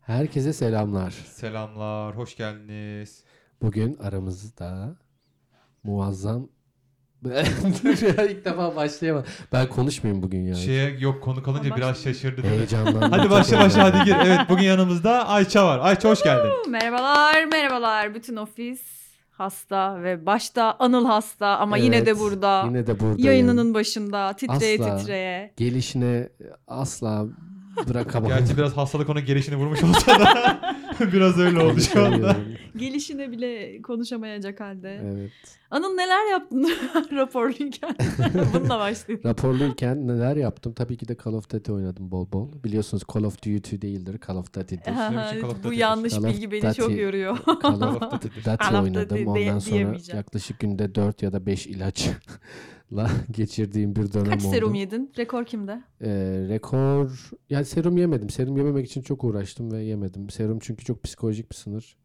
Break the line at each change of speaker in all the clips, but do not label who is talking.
Herkese selamlar.
Selamlar, hoş geldiniz.
Bugün aramızda muazzam... Dur ya, ilk defa başlayamadım. Ben konuşmayayım bugün yani.
Şeye yok konu kalınca
Tamam,
biraz
başlayalım.
şaşırdı. değil mi?
Heyecanlandım.
Şey- hadi başla başla hadi gir. Evet bugün yanımızda Ayça var. Ayça hoş geldin.
Merhabalar, merhabalar. Bütün ofis hasta ve başta Anıl hasta ama yine de
Evet,
burada.
Yine de burada.
Yayınının başında titreye
Asla.
titreye.
Gelişine asla bırakamam.
Gerçi biraz hastalık ona gelişini vurmuş olsa da biraz öyle oldu şu anda.
Gelişine bile konuşamayacak halde.
Evet.
Anıl neler yaptın raporluyken? Bununla başlayalım.
Raporluyken neler yaptım? Tabii ki de Call of Duty oynadım bol bol. Biliyorsunuz Call of Duty değildir, Call of Duty'dir.
Aha,
Benim için Call of
Bu
Duty.
yanlış
Call of
bilgi beni çok
Duty.
yoruyor.
Call of
Call of Duty.
Dati
Call of
oynadım.
Duty
Ondan
diye-
sonra
diyemeyeceğim.
yaklaşık günde 4 ya da 5 ilaçla geçirdiğim bir dönem
Kaç
oldu.
serum yedin? Rekor kimde?
Ee, rekor... Yani serum yemedim. Serum yememek için çok uğraştım ve yemedim. Serum çünkü çok psikolojik bir sınır.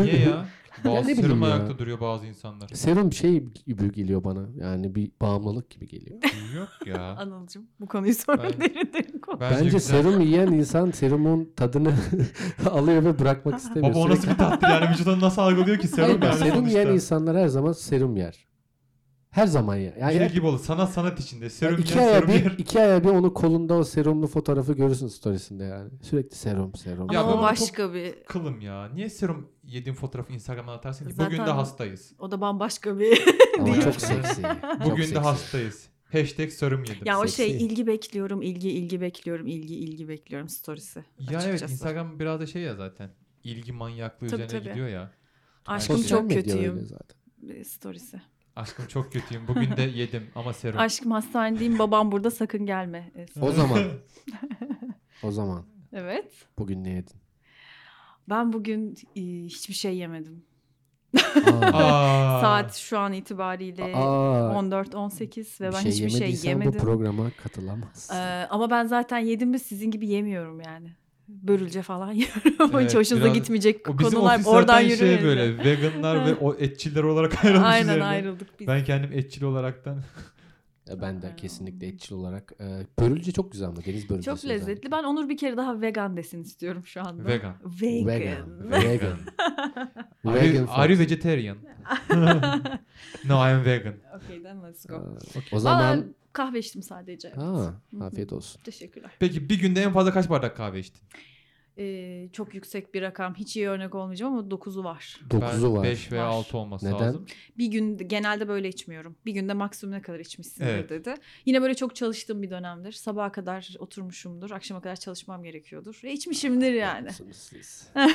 Niye ya?
Ya ne
Bazı
bileyim
serum
ya.
ayakta duruyor bazı insanlar.
Serum şey gibi geliyor bana. Yani bir bağımlılık gibi geliyor.
Yok ya.
Anılcım bu konuyu sonra
Ben-
derin derin konuş.
Bence,
güzel.
serum yiyen insan serumun tadını alıyor ve bırakmak istemiyor.
Baba o nasıl
Sürekli-
bir tatlı yani vücut onu nasıl algılıyor ki
Hayır,
serum
bak,
yani
serum yiyen
sonuçta.
insanlar her zaman serum yer. Her zaman yer. Yani
Şey gibi olur. Sanat sanat içinde. Serum
iki
yiyen
aya
serum
bir,
yer.
iki aya bir onu kolunda o serumlu fotoğrafı görürsün storiesinde yani. Sürekli serum serum.
Ya
Ama
ben
o
onu
başka bir...
Kılım ya. Niye serum yediğin fotoğrafı Instagram'dan atarsın ki?
Zaten-
Bugün de hastayız.
O da bambaşka bir
Ama
değil.
çok seksi. Çok
Bugün de
seksi.
hastayız. Hashtag serum yedim.
Ya o
Seksi.
şey ilgi bekliyorum, ilgi ilgi bekliyorum, ilgi ilgi bekliyorum storiesi.
Ya evet
açıkçası.
Instagram biraz da şey ya zaten. ilgi manyaklığı
Tabii,
üzerine
tabii.
gidiyor ya.
Aşkım
Sosyal
çok
medya
kötüyüm
öyle zaten.
e, storiesi.
Aşkım çok kötüyüm. Bugün de yedim ama serum.
Aşkım hastanedeyim, babam burada sakın gelme. E,
O zaman. O zaman
Evet.
bugün ne yedin?
Ben bugün e, hiçbir şey yemedim.
Aa,
Aa.
Saat şu an itibariyle
aa,
14-18 ve
bir
ben hiçbir şey
yemediysen
yemedim.
bu programa katılamaz.
Ee, ama ben zaten yedim mi sizin gibi yemiyorum yani. Börülce falan yiyorum.
Evet,
Hiç hoşunuza
biraz-
gitmeyecek
O bizim
konular
ofis
oradan
oradan
yürüyor.
şey böyle veganlar ve o etçiler olarak ayrılmış
Aynen
üzerine.
ayrıldık biz.
Ben kendim etçil olaraktan.
Ya Ben de
Aa.
kesinlikle etçil olarak. E, börülce çok güzel ama deniz börülcesi.
Çok lezzetli. Ben Onur bir kere daha vegan desin istiyorum şu anda.
Vegan.
Vegan.
Vegan. Vegan.
Are,
Vegan.
are
food.
you vegetarian? no, I am vegan.
okay then let's
Aa,
go.
O
Valla
zaman
kahve içtim sadece. evet.
ha,
Hı hı.
afiyet olsun.
Teşekkürler.
Peki bir günde en fazla kaç bardak kahve içtin?
Ee, çok yüksek bir rakam. Hiç iyi örnek olmayacağım ama 9'u var.
9'u var.
5 veya
Var.
6 olması
Neden?
lazım.
Bir gün genelde böyle içmiyorum. Bir günde maksimum ne kadar içmişsindir
Evet.
dedi. Yine böyle çok çalıştığım bir dönemdir. Sabaha kadar oturmuşumdur. Akşama kadar çalışmam gerekiyordur. Ve içmişimdir yani.
Haklısınız siz.
Ben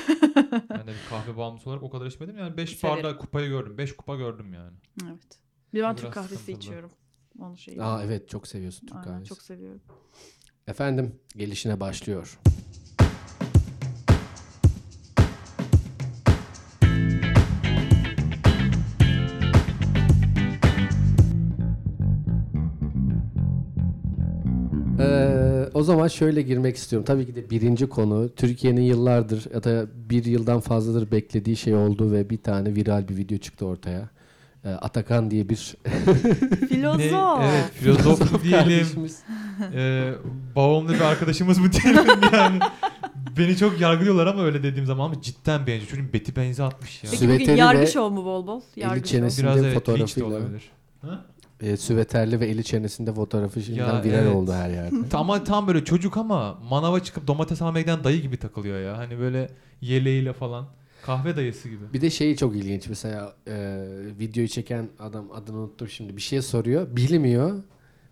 de bir kahve bağımlısı olarak o kadar içmedim. Yani 5
Severim.
bardak kupayı gördüm. 5 kupa gördüm yani.
Evet. Bir ben
Biraz
Türk kahvesi
sıkıntılı.
içiyorum. Onu şey.
Aa evet çok seviyorsun Türk
Aynen,
kahvesi.
çok seviyorum.
Efendim gelişine başlıyor. Ee, o zaman şöyle girmek istiyorum. Tabii ki de birinci konu Türkiye'nin yıllardır ya da bir yıldan fazladır beklediği şey oldu ve bir tane viral bir video çıktı ortaya. Ee, Atakan diye bir
Filozof.
Ne, evet filozof mu diyelim.
kardeşimiz.
E, bağımlı bir arkadaşımız mı diyelim yani. Beni çok yargılıyorlar ama öyle dediğim zaman ama cidden benziyor. Çünkü beti benzi atmış ya.
Peki bugün
Süveteli ve
yargı şov mu bol bol?
eli
Yargı şov.
çenesi-
Biraz
Şimdi
evet linç de
fotoğrafıyla-
olabilir. Ha?
E, süveterli ve eli çenesinde fotoğrafı şimdiden
Ya,
viral
evet.
oldu her yerde.
Ama tam böyle çocuk ama manava çıkıp domates almaya giden dayı gibi takılıyor ya. Hani böyle yeleğiyle falan. Kahve dayısı gibi.
Bir de şeyi çok ilginç mesela e, videoyu çeken adam adını unuttum şimdi bir şey soruyor bilmiyor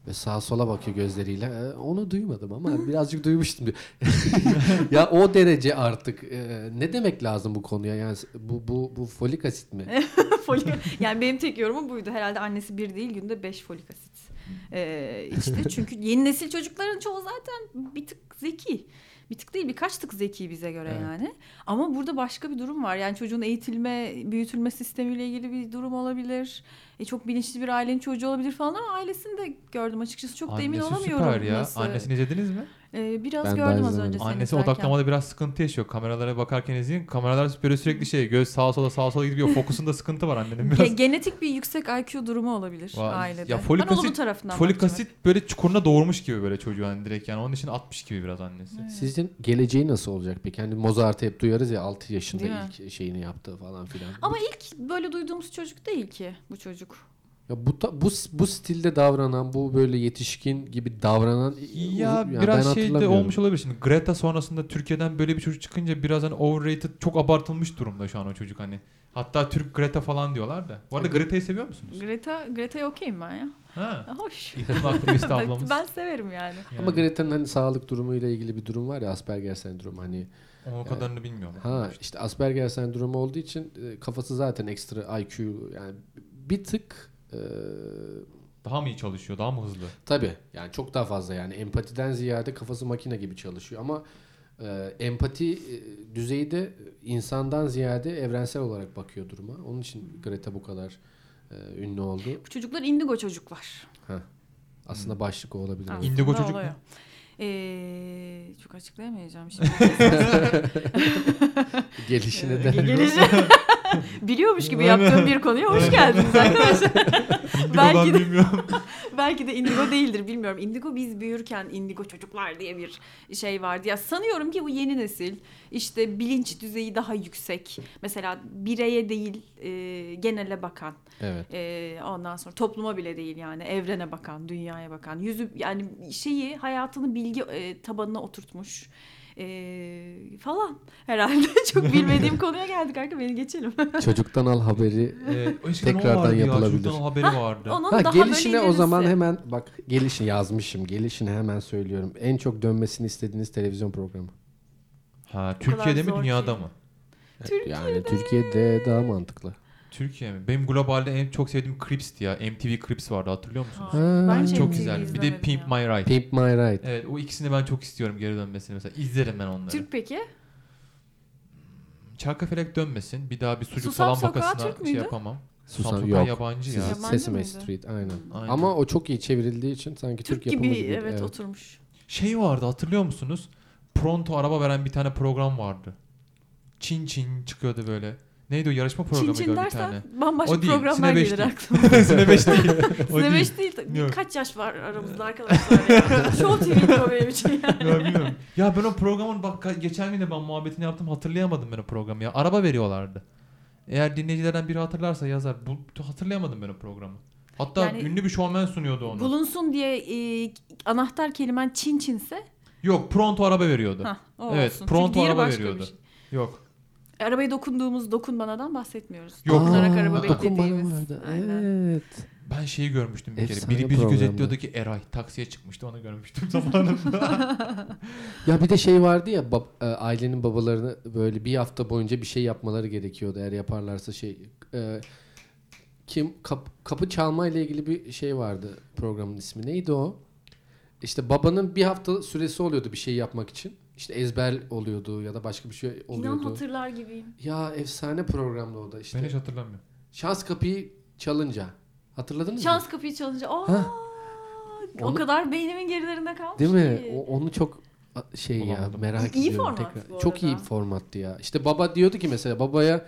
ve sağa sola bakıyor gözleriyle E, onu duymadım ama birazcık duymuştum diyor. ya o derece artık e, ne demek lazım bu konuya yani bu bu bu folik asit mi?
Folik- yani benim tek yorumum buydu. Herhalde annesi bir değil günde beş folik asit ee, içti. Çünkü yeni nesil çocukların çoğu zaten bir tık zeki. Bir tık değil birkaç tık zeki bize göre
Evet.
yani. Ama burada başka bir durum var. Yani çocuğun eğitilme, büyütülme sistemiyle ilgili bir durum olabilir. E, çok bilinçli bir ailenin çocuğu olabilir falan ama ailesini de gördüm açıkçası. Çok da emin
Annesi
olamıyorum.
süper ya.
nasıl-
Annesini izlediniz mi?
Ee, biraz
Ben daha
gördüm az
izlemedim.
önce seni
Annesi
izlerken.
odaklamada biraz sıkıntı yaşıyor. Kameralara bakarken izleyin. Kameralar böyle sürekli şey göz sağa sola sağa sola gidiyor. Fokusunda sıkıntı var annenin biraz.
Ge- genetik bir yüksek IQ durumu olabilir
Vay.
ailede.
Ya folik
ben olumlu
asit-
tarafından
Folik
bakacağım.
asit böyle çukuruna doğurmuş gibi böyle çocuğu hani direkt yani onun için atmış gibi biraz annesi.
Sizin geleceği nasıl olacak peki? Hani Mozart'ı hep duyarız ya 6 yaşında
Değil mi?
ilk şeyini yaptığı falan filan.
Ama ilk böyle duyduğumuz çocuk değil ki bu çocuk.
ya bu, ta- bu bu stilde davranan, bu böyle yetişkin gibi davranan e,
Ya
uzun-
biraz
ben
şey de
hatırlamıyorum.
olmuş olabilir şimdi. Greta sonrasında Türkiye'den böyle bir çocuk çıkınca biraz hani overrated çok abartılmış durumda şu an o çocuk hani. Hatta Türk Greta falan diyorlar da. Bu arada Greta'yı seviyor musunuz?
Greta Greta'ya okeyim ben ya.
Ha.
Hoş.
İklim aktivist
ben,
ablamız.
ben severim yani.
Yani
Ama Greta'nın hani sağlık durumuyla ilgili bir durum var ya Asperger sendromu hani
Onun o kadarını bilmiyorum.
ha işte Asperger sendromu olduğu için e, kafası zaten ekstra IQ yani bir tık e,
Daha mı iyi çalışıyor? Daha mı hızlı?
Tabii yani çok daha fazla yani empatiden ziyade kafası makine gibi çalışıyor ama e, empati e, düzeyi de insandan ziyade evrensel olarak bakıyor duruma. Onun için Greta bu kadar e, ünlü oldu.
Bu çocuklar indigo çocuklar. Hmm.
Aslında başlık o olabilir.
Aslında
İndigo çocuk mu?
oluyor. Ee, çok açıklayamayacağım şimdi.
Gelişine de.
Gelişi. Biliyormuş gibi yaptığım bir konuya hoş
Evet.
geldiniz arkadaşlar.
Belki
Belki de-
bilmiyorum.
Belki de indigo değildir bilmiyorum. Indigo biz büyürken indigo çocuklar diye bir şey vardı. Ya sanıyorum ki bu yeni nesil işte bilinç düzeyi daha yüksek. Mesela bireye değil e, genele bakan.
Evet.
Ee, ondan sonra topluma bile değil yani evrene bakan, dünyaya bakan, yüzü yani şeyi hayatını bilgi e, tabanına oturtmuş ee, falan herhalde çok bilmediğim konuya geldik arkadaşlar beni geçelim.
Çocuktan al haberi.
Ee, eskiden o
Tekrardan
vardı ya,
yapılabilir.
çocuktan o haberi vardı.
Onun
Ha,
daha
gelişine
böyle
o zaman
ilerisi.
hemen bak gelişini yazmışım. Gelişini hemen söylüyorum. En çok dönmesini istediğiniz televizyon programı.
Ha,
kadar
Türkiye'de mi
zor
dünyada
ki.
mı?
Yani Türkiye'de daha mantıklı.
Türkiye mi? Benim globalde en çok sevdiğim Crips'ti ya. MTV Crips vardı hatırlıyor musunuz?
Aa, ben hiç
Çok
MTV
güzel. Bir de
izlemedim
Pimp
ya.
My Ride.
Pimp My Ride.
Evet o ikisini ben çok istiyorum geri dönmesini mesela. İzlerim ben onları.
Türk peki?
Çarkıfelek dönmesin. Bir daha bir sucuk salam
Susam Sokağı
bakasına
Türk
şey
müydü?
yapamam.
Susam,
Susam Sokağı
yok.
yabancı ya.
Yabancı
Sesame
mıydı?
Street aynen.
Aynen.
Ama o çok iyi çevrildiği için sanki Türk,
Türk, gibi,
yapımı gibi.
evet, oturmuş.
Şey vardı hatırlıyor musunuz? Pronto araba veren bir tane program vardı. Çin Çin çıkıyordu böyle. Neydi o yarışma
Çin
programıydı
Çin
o bir tane.
dersen bambaşka
O değil,
programlar
Sine beş
gelir
değil.
aklıma.
Sine 5 değil. O
Sine
değil.
beş değil. tabii.
Yok. Ee.
Kaç yaş var aramızda arkadaşlar ya. Show TV'dir o benim için yani.
Ya bilmiyorum. Ya ben o programın bak ka- geçen gün de ben muhabbetini yaptım hatırlayamadım ben o programı ya. Araba veriyorlardı. Eğer dinleyicilerden biri hatırlarsa yazar. Bu, hatırlayamadım ben o programı. Hatta
Yani-
ünlü bir şovmen sunuyordu onu.
Bulunsun diye e, anahtar kelimen Çin Çinse
Yok pronto araba veriyordu.
ha, o
Evet,
olsun.
pronto
diğeri
araba
başka bir
veriyordu.
şey.
Yok.
Arabaya dokunduğumuz dokunmanadan bahsetmiyoruz.
Yok.
Dokunarak
Aa, Ee,
araba
dokun bana
beklediğimiz.
vardı.
Aynen.
Evet.
Ben şeyi görmüştüm bir kere.
Efsane
Biri bizi
programdı.
gözetliyordu ki Eray taksiye çıkmıştı onu görmüştüm zamanında.
Ya bir de şey vardı ya bab- e, ailenin babalarını böyle bir hafta boyunca bir şey yapmaları gerekiyordu eğer yaparlarsa şey e, kim kap- kapı çalma ile ilgili bir şey vardı programın ismi neydi o? İşte babanın bir hafta süresi oluyordu bir şey yapmak için. İşte ezber oluyordu ya da başka bir şey
İnan
oluyordu.
hatırlar gibiyim.
Ya efsane programdı o da işte.
ben hiç hatırlamıyorum.
Şans kapıyı çalınca. Hatırladınız mı?
Şans kapıyı çalınca aa,
Ha.
o
Onu-
kadar beynimin gerilerinde kalmış
Değil mi?
ki.
O, onu çok a- şey ya
Bulamadım.
merak
Şey İyi
ediyorum
format bu
Çok iyi
arada.
bir formattı ya. İşte baba diyordu ki mesela babaya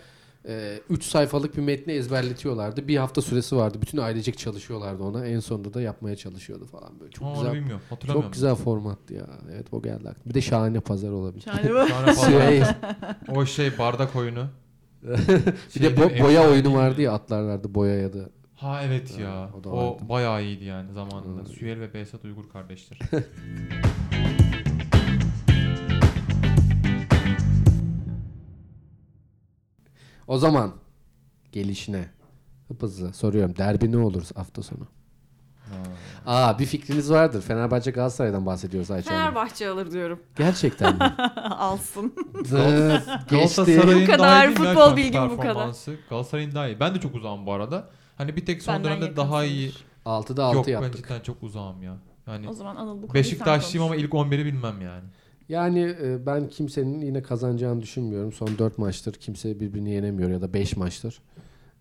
3 sayfalık bir metni ezberletiyorlardı. Bir hafta süresi vardı. Bütün ailecek çalışıyorlardı ona. En sonunda da yapmaya çalışıyordu falan böyle. Çok
Ama onu
güzel.
bilmiyorum. Hatırlamıyorum.
Çok güzel formattı ya. Evet o geldi aklıma. Bir de şahane pazar olabilir.
Şahane bu.
Sonra falan-
Şey,
o şey bardak oyunu.
bir de
Şey,
bo- boya
efsane
oyunu
değil mi?
vardı ya atlarlardı boyaya da.
Ha evet ya.
o da
O,
vardı.
bayağı iyiydi yani zamanında.
Hmm.
Süheyl ve Behzat Uygur kardeştir.
O zaman gelişine hıp hızlı soruyorum. Derbi ne olur hafta sonu?
Ha.
Aa bir fikriniz vardır. Fenerbahçe Galatasaray'dan bahsediyoruz Ayça Hanım.
Fenerbahçe alır diyorum.
Gerçekten mi?
Alsın.
Dıt, Geçti.
Galatasaray'ın
Bu kadar,
değil mi
futbol
Erkan
bilgim bu kadar.
performansı? Galatasaray'ın daha iyi. Ben de çok uzağım bu arada. Hani bir tek son
Benden
dönemde
yakınsındır.
daha iyi.
6'da
Yok
6
ben
yaptık.
cidden çok uzağım ya. Yani
O zaman Anıl bu konuyu sen
Beşiktaşlıyım ama
konuş.
ilk 11'i bilmem yani.
Yani e, ben kimsenin yine kazanacağını düşünmüyorum. Son 4 maçtır kimse birbirini yenemiyor ya da 5 maçtır.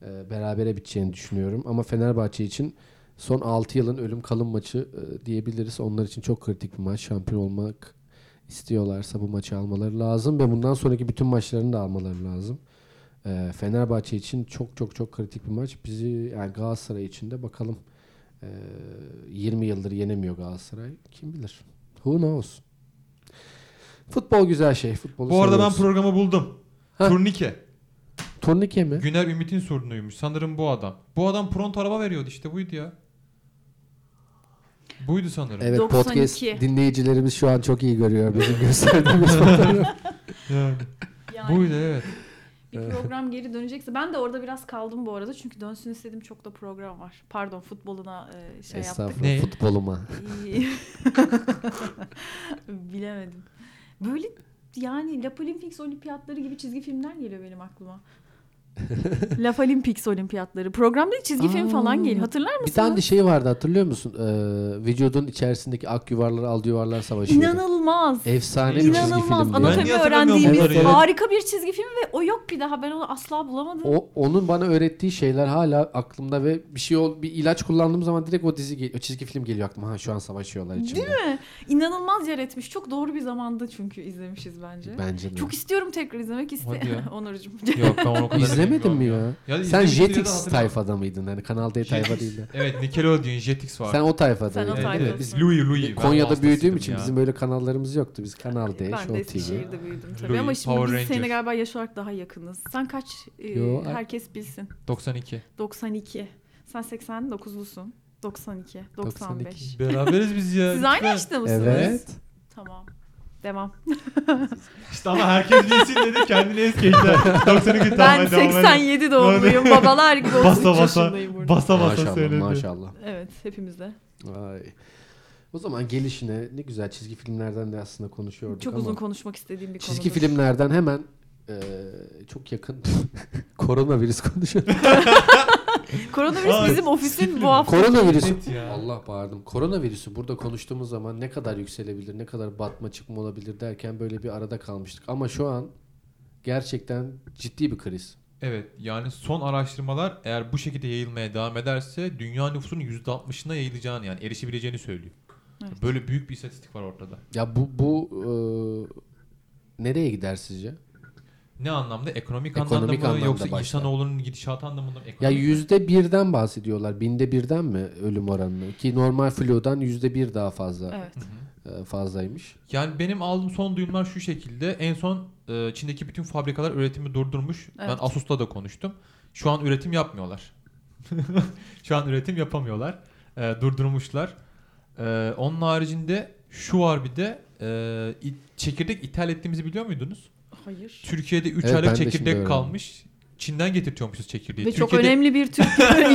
E, Berabere biteceğini düşünüyorum. Ama Fenerbahçe için Son 6 yılın ölüm kalım maçı e, diyebiliriz. Onlar için çok kritik bir maç. Şampiyon olmak istiyorlarsa bu maçı almaları lazım ve bundan sonraki bütün maçlarını da almaları lazım. E, Fenerbahçe için çok çok çok kritik bir maç. Bizi yani Galatasaray için de bakalım e, 20 yıldır yenemiyor Galatasaray. Kim bilir? Who knows? Futbol güzel şey. Futbolu
Bu arada ben
seviyoruz.
programı buldum.
Heh.
Turnike.
Turnike mi?
Güner Ümit'in sorunuymuş. Sanırım bu adam. Bu adam pronto araba veriyordu işte buydu ya. Buydu sanırım.
Evet
92.
podcast dinleyicilerimiz şu an çok iyi görüyor bizim
Şey
gösterdiğimiz fotoğrafı.
Yani.
Yani
Buydu evet.
bir program geri dönecekse ben de orada biraz kaldım bu arada çünkü dönsün istediğim çok da program var. Pardon futboluna e, şey yaptık.
Estağfurullah
Ne?
futboluma.
İyi. Bilemedim. Böyle yani La Olimpiks olimpiyatları gibi çizgi filmler geliyor benim aklıma. La Olimpiks olimpiyatları. Programda çizgi film
Aa.
falan geliyor. Hatırlar
Bir
mısınız?
tane de şey vardı hatırlıyor musun? Ee, vücudun içerisindeki ak yuvarları al yuvarlar savaşıyordu.
İnanılmaz.
Efsane bir çizgi
İnanılmaz.
filmdi.
Ben
Anatomi
niye hatırlamıyorum
öğrendiğimiz
bunları ya?
harika bir çizgi film ve o yok bir daha. Ben onu asla bulamadım.
O, onun bana öğrettiği şeyler hala aklımda ve bir şey ol, bir ilaç kullandığım zaman direkt o dizi gel- o çizgi film geliyor aklıma. Ha şu an savaşıyorlar içimde.
Değil mi? İnanılmaz yer etmiş. Çok doğru bir zamanda çünkü izlemişiz bence.
Bence de.
Çok istiyorum tekrar izlemek
Hadi
istiyorum.
ya.
Onurcuğum.
Yok ben onu o kadar
İzlemedin
bilmiyorum
mi ya? Sen
Ya izlemiştim ya da
Jetix
hatırlamıyorum.
tayfada mıydın? Yani Kanal D tayfa değil de.
Evet Nickelodeon Jetix var.
Sen o tayfadaydın.
Sen o
evet,
tayfasın.
evet, biz Louis Louis. Ben
E, Konya'da
hastasıydım
büyüdüğüm için
ya.
bizim böyle kanallarımız yoktu. Biz Kanal D,
ben de şey
Show TV.
Eskişehir'de büyüdüm tabii
Louis,
ama şimdi
Power
biz seninle
Rangers.
galiba yaş olarak daha yakınız. Sen kaç? e,
Yo, ay-
herkes bilsin.
92.
92. Sen 89'lusun. 92, 95.
92.
Beraberiz biz ya.
Siz aynı yaşta mısınız?
Evet.
Tamam. Devam.
İşte ama herkes bilsin dedi kendini es geçti. 92
ben 87 doğumluyum. Babalar gibi 33
Basa basa.
yaşındayım burada.
Basa basa
Maşallah
söyledi.
maşallah.
Evet hepimiz de.
Ay. O zaman gelişine ne güzel çizgi filmlerden de aslında konuşuyorduk
Çok
ama
uzun konuşmak istediğim bir konu.
çizgi filmlerden hemen e, çok yakın koronavirüs konuşuyoruz.
Koronavirüs
Ay,
bizim ofisin bu hafta.
koronavirüsü.
Evet ya.
Allah bağırdım. Koronavirüsü burada konuştuğumuz zaman ne kadar yükselebilir, ne kadar batma çıkma olabilir derken böyle bir arada kalmıştık. Ama şu an gerçekten ciddi bir kriz.
Evet yani son araştırmalar eğer bu şekilde yayılmaya devam ederse dünya nüfusunun %60'ına yayılacağını yani erişebileceğini söylüyor.
Evet.
Böyle büyük bir istatistik var ortada.
Ya bu bu e, nereye gider sizce?
Ne anlamda? Ekonomik,
Ekonomik
anlamda mı
anlamda
yoksa
başta.
insanoğlunun gidişatı anlamında mı?
Ya
Ekonomik-
yüzde birden bahsediyorlar. Binde birden mi ölüm oranı? Ki normal flu'dan yüzde bir daha fazla
Evet.
e, fazlaymış.
Yani benim aldığım son duyumlar şu şekilde. En son e, Çin'deki bütün fabrikalar üretimi durdurmuş.
Evet.
Ben Asus'la da konuştum. Şu an üretim yapmıyorlar. şu an üretim yapamıyorlar. E, durdurmuşlar. E, onun haricinde şu var bir de e, it- çekirdek ithal ettiğimizi biliyor muydunuz?
Hayır.
Türkiye'de 3
Evet, ben
aylık
de şimdi
çekirdek
öğrendim.
kalmış. Çin'den getirtiyormuşuz çekirdeği.
Ve çok önemli bir Türk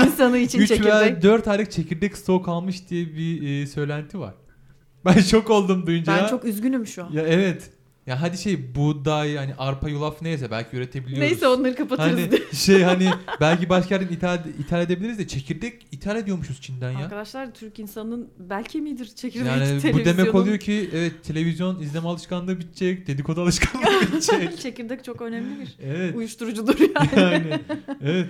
insanı için
3 veya
çekirdek.
4 aylık çekirdek stok kalmış diye bir e, söylenti var. Ben şok oldum duyunca.
Ben
ya.
çok üzgünüm şu an.
Ya evet. Ya hadi şey buğday hani arpa yulaf neyse belki üretebiliyoruz.
Neyse onları kapatırız
Hani
diye.
şey hani belki başka yerden ithal, ithal edebiliriz de çekirdek ithal ediyormuşuz Çin'den ya.
Arkadaşlar Türk insanının belki midir çekirdek
Yani bu demek
televizyonun-
oluyor ki evet televizyon izleme alışkanlığı bitecek, dedikodu alışkanlığı bitecek.
çekirdek çok önemli bir
Evet.
uyuşturucudur yani.
Yani evet.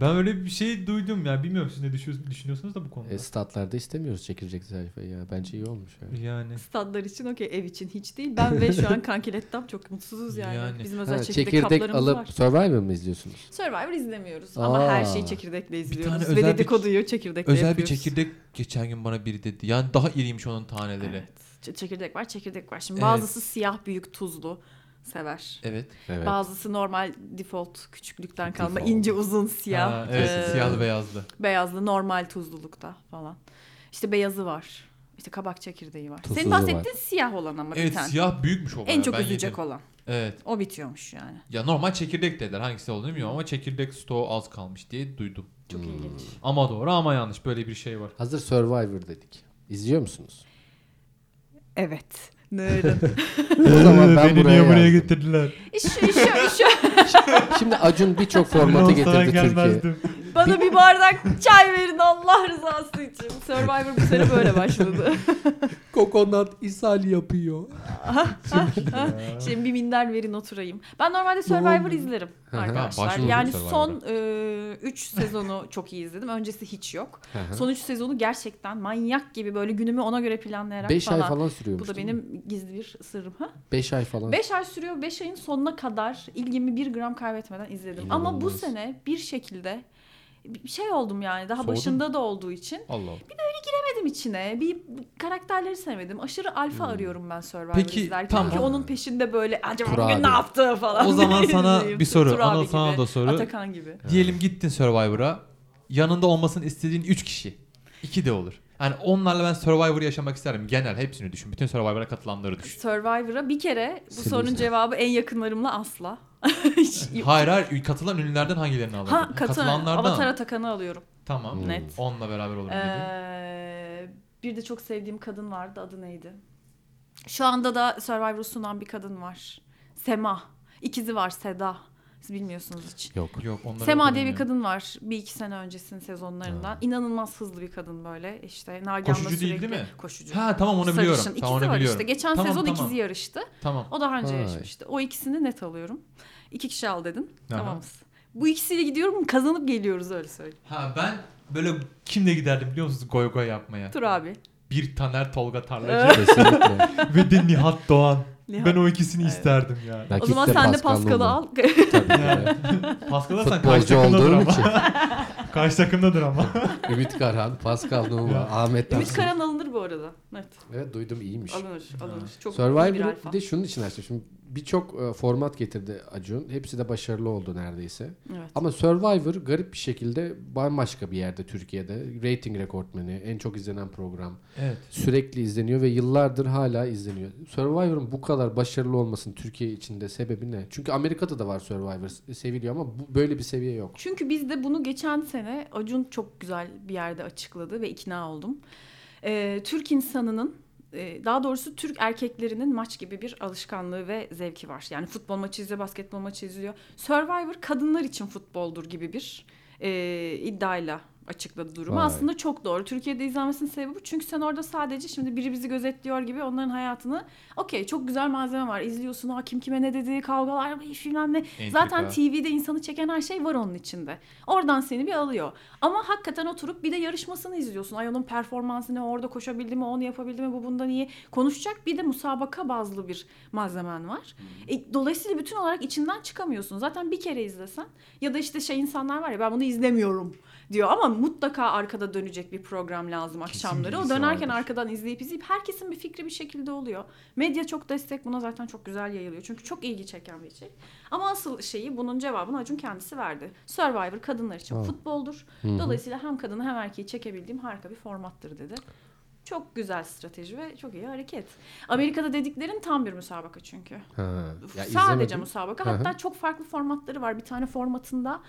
Ben öyle bir şey duydum ya. Bilmiyorum siz ne düşünüyorsunuz, düşünüyorsunuz da bu konuda.
E, statlarda istemiyoruz çekilecek sayfayı ya. Bence iyi olmuş. Yani.
Yani
Stadlar için okey ev için hiç değil. Ben ve şu an kankilettam çok mutsuzuz yani.
Yani.
Bizim özel
Ha,
çekirdek,
çekirdek
kaplarımız
alıp
var.
Survivor mı izliyorsunuz?
Survivor izlemiyoruz ama
Aa.
her şeyi çekirdekle izliyoruz.
tane
Ve
özel bir-
dedikoduyu çekirdekle
özel bir
yapıyoruz.
çekirdek geçen gün bana biri dedi. Yani daha iriymiş onun taneleri. Evet.
Evet. Ç- Çekirdek var çekirdek var. Şimdi
Evet.
bazısı siyah büyük tuzlu sever.
Evet.
Bazısı normal default küçüklükten kalma
Default.
ince uzun siyah.
Ha, evet,
Ee,
siyahlı beyazlı.
Beyazlı normal tuzlulukta falan. İşte beyazı var. İşte kabak çekirdeği var. Senin
Tuzsuzu
bahsettiğin siyah olan ama bir
Evet
tane.
siyah büyükmüş o.
en
bayağı.
çok
Ben
üzecek
yedim.
olan.
Evet.
O bitiyormuş yani.
Ya normal çekirdek dediler. Hangisi olduğunu bilmiyorum ama çekirdek stoğu az kalmış diye duydum.
Hmm.
Çok ilginç.
Ama doğru ama yanlış böyle bir şey var.
Hazır Survivor dedik. İzliyor musunuz?
Evet. Nöyle.
o zaman ben buraya, yazdım.
getirdiler?
iş, iş, iş,
Şimdi Acun birçok formatı getirdi Türkiye.
Bana bir bardak çay verin Allah rızası için. Survivor bu sene böyle başladı.
Kokonat ishal yapıyor.
Şimdi bir minder verin oturayım. Ben normalde
Ne
Survivor
oldu?
izlerim
Hı hı.
arkadaşlar.
başladım
Yani
Survivor'a.
son 3 sezonu çok iyi izledim. Öncesi hiç yok. Son 3 sezonu gerçekten manyak gibi böyle günümü ona göre planlayarak
5 ay
falan.
falan sürüyormuş.
Bu da benim gizli bir sırrım. Ha?
5 ay falan.
5 ay sürüyor. 5 ayın sonuna kadar ilgimi bir gram kaybetmeden izledim. Ama bu
İnanılmaz.
sene bir şekilde bir şey oldum yani. Daha
Soğudun
başında da olduğu için.
Allah Allah.
Giremedim içine. Bir karakterleri sevmedim. Aşırı alfa
Hmm.
arıyorum ben Survivor
Peki,
izlerken.
tamam.
Ki onun peşinde böyle acaba
Tur
bugün
abi.
ne yaptı falan.
O zaman
diye
sana
izleyeyim.
bir soru.
Tur abi
Anıl sana
gibi,
da soru.
Atakan gibi.
Diyelim gittin Survivor'a. Yanında olmasını istediğin 3 kişi. 2 de olur. Yani onlarla ben Survivor'ı yaşamak isterim. Genel hepsini düşün. Bütün Survivor'a katılanları düşün.
Survivor'a bir kere bu
Seviyorsun.
sorunun cevabı en yakınlarımla asla. Hiç-
Hayır hayır katılan ünlülerden hangilerini alırdın?
Ha, katılan,
Katılanlardan.
Avatar Atakan'ı alıyorum.
Tamam.
Hmm.
Net.
Onunla beraber olurum dedi.
Ee, bir de çok sevdiğim kadın vardı. Adı neydi? Şu anda da Survivor'u sunan bir kadın var. Sema. İkizi var Seda. Siz bilmiyorsunuz hiç.
Yok.
Yok onları
Sema diye bir
bilmiyorum.
kadın var. Bir iki sene öncesinin sezonlarından. İnanılmaz hızlı bir kadın böyle. İşte Nagihan'la
Koşucu değil,
sürekli.
değil mi?
Koşucu.
Ha tamam onu
Sarışın.
biliyorum.
İkizi
Tamam onu
var
biliyorum.
işte. Geçen
Tamam,
sezon
tamam.
ikizi yarıştı.
Tamam.
O daha önce
Vay.
yarışmıştı. O ikisini net alıyorum. İki kişi al dedin.
Aha.
Tamamız. Bu ikisiyle gidiyorum kazanıp geliyoruz öyle söyleyeyim.
Ha ben böyle kimle giderdim biliyor musunuz goy goy yapmaya?
Tur abi.
Bir Taner Tolga
Evet.
Tarlacı
Kesinlikle.
ve de Nihat Doğan.
Ee. Nihat.
Ben o ikisini isterdim yani.
Belki
o zaman
ilk de
sen de
Pascal'la
Pascal'ı
olur.
al.
Tabii.
Yani.
ki.
Pascal'a sen karşı
Futbolcu
takımdadır
olduğum
ama.
için.
karşı takımdadır ama.
Ümit Karan, Pascal Numa,
Ya.
Ahmet
Ümit
Tanrı.
Karan alınır bu arada. Evet.
Evet duydum iyiymiş.
Alınır. Alınır. Çok iyi bir
Survivor'ı
alfa.
bir de şunun için açtım. Şimdi birçok e, format getirdi Acun. Hepsi de başarılı oldu neredeyse.
Evet.
Ama Survivor garip bir şekilde bambaşka bir yerde Türkiye'de. Rating rekortmeni, en çok izlenen program.
evet.
Sürekli izleniyor ve yıllardır hala izleniyor. Survivor'ın bu kadar başarılı olmasının Türkiye içinde sebebi ne? Çünkü Amerika'da da var Survivor se- seviliyor ama bu, böyle bir seviye yok.
Çünkü biz de bunu geçen sene Acun çok güzel bir yerde açıkladı ve ikna oldum. Ee, Türk insanının e, daha doğrusu Türk erkeklerinin maç gibi bir alışkanlığı ve zevki var. Yani futbol maçı izliyor, basketbol maçı izliyor. Survivor kadınlar için futboldur gibi bir e, iddiayla açıkladı durumu.
Vay.
Aslında çok doğru. Türkiye'de izlenmesinin sebebi bu. Çünkü sen orada sadece şimdi biri bizi gözetliyor gibi onların hayatını okey çok güzel malzeme var. İzliyorsun ha kim kime ne dedi, kavgalar, bilmem ne. Zaten
Entrika.
TV'de insanı çeken her şey var onun içinde. Oradan seni bir alıyor. Ama hakikaten oturup bir de yarışmasını izliyorsun. Ay onun performansı ne orada koşabildi mi onu yapabildi mi bu bundan iyi. Konuşacak bir de musabaka bazlı bir malzemen var. E, dolayısıyla bütün olarak içinden çıkamıyorsun. Zaten bir kere izlesen ya da işte şey insanlar var ya ben bunu izlemiyorum diyor ama mutlaka arkada dönecek bir program lazım akşamları. O
birisi
dönerken
vardır.
arkadan izleyip izleyip herkesin bir fikri bir şekilde oluyor. Medya çok destek buna zaten çok güzel yayılıyor. Çünkü çok ilgi çeken bir şey. Ama asıl şeyi bunun cevabını Acun kendisi verdi. Survivor kadınlar için
Ha.
futboldur.
Hı hı.
Dolayısıyla hem kadını hem erkeği çekebildiğim harika bir formattır dedi. Çok güzel strateji ve çok iyi hareket. Amerika'da dediklerin tam bir müsabaka çünkü.
Ha. Ya
Sadece
izlemedim.
müsabaka.
Hı hı.
Hatta çok farklı formatları var. Bir tane formatında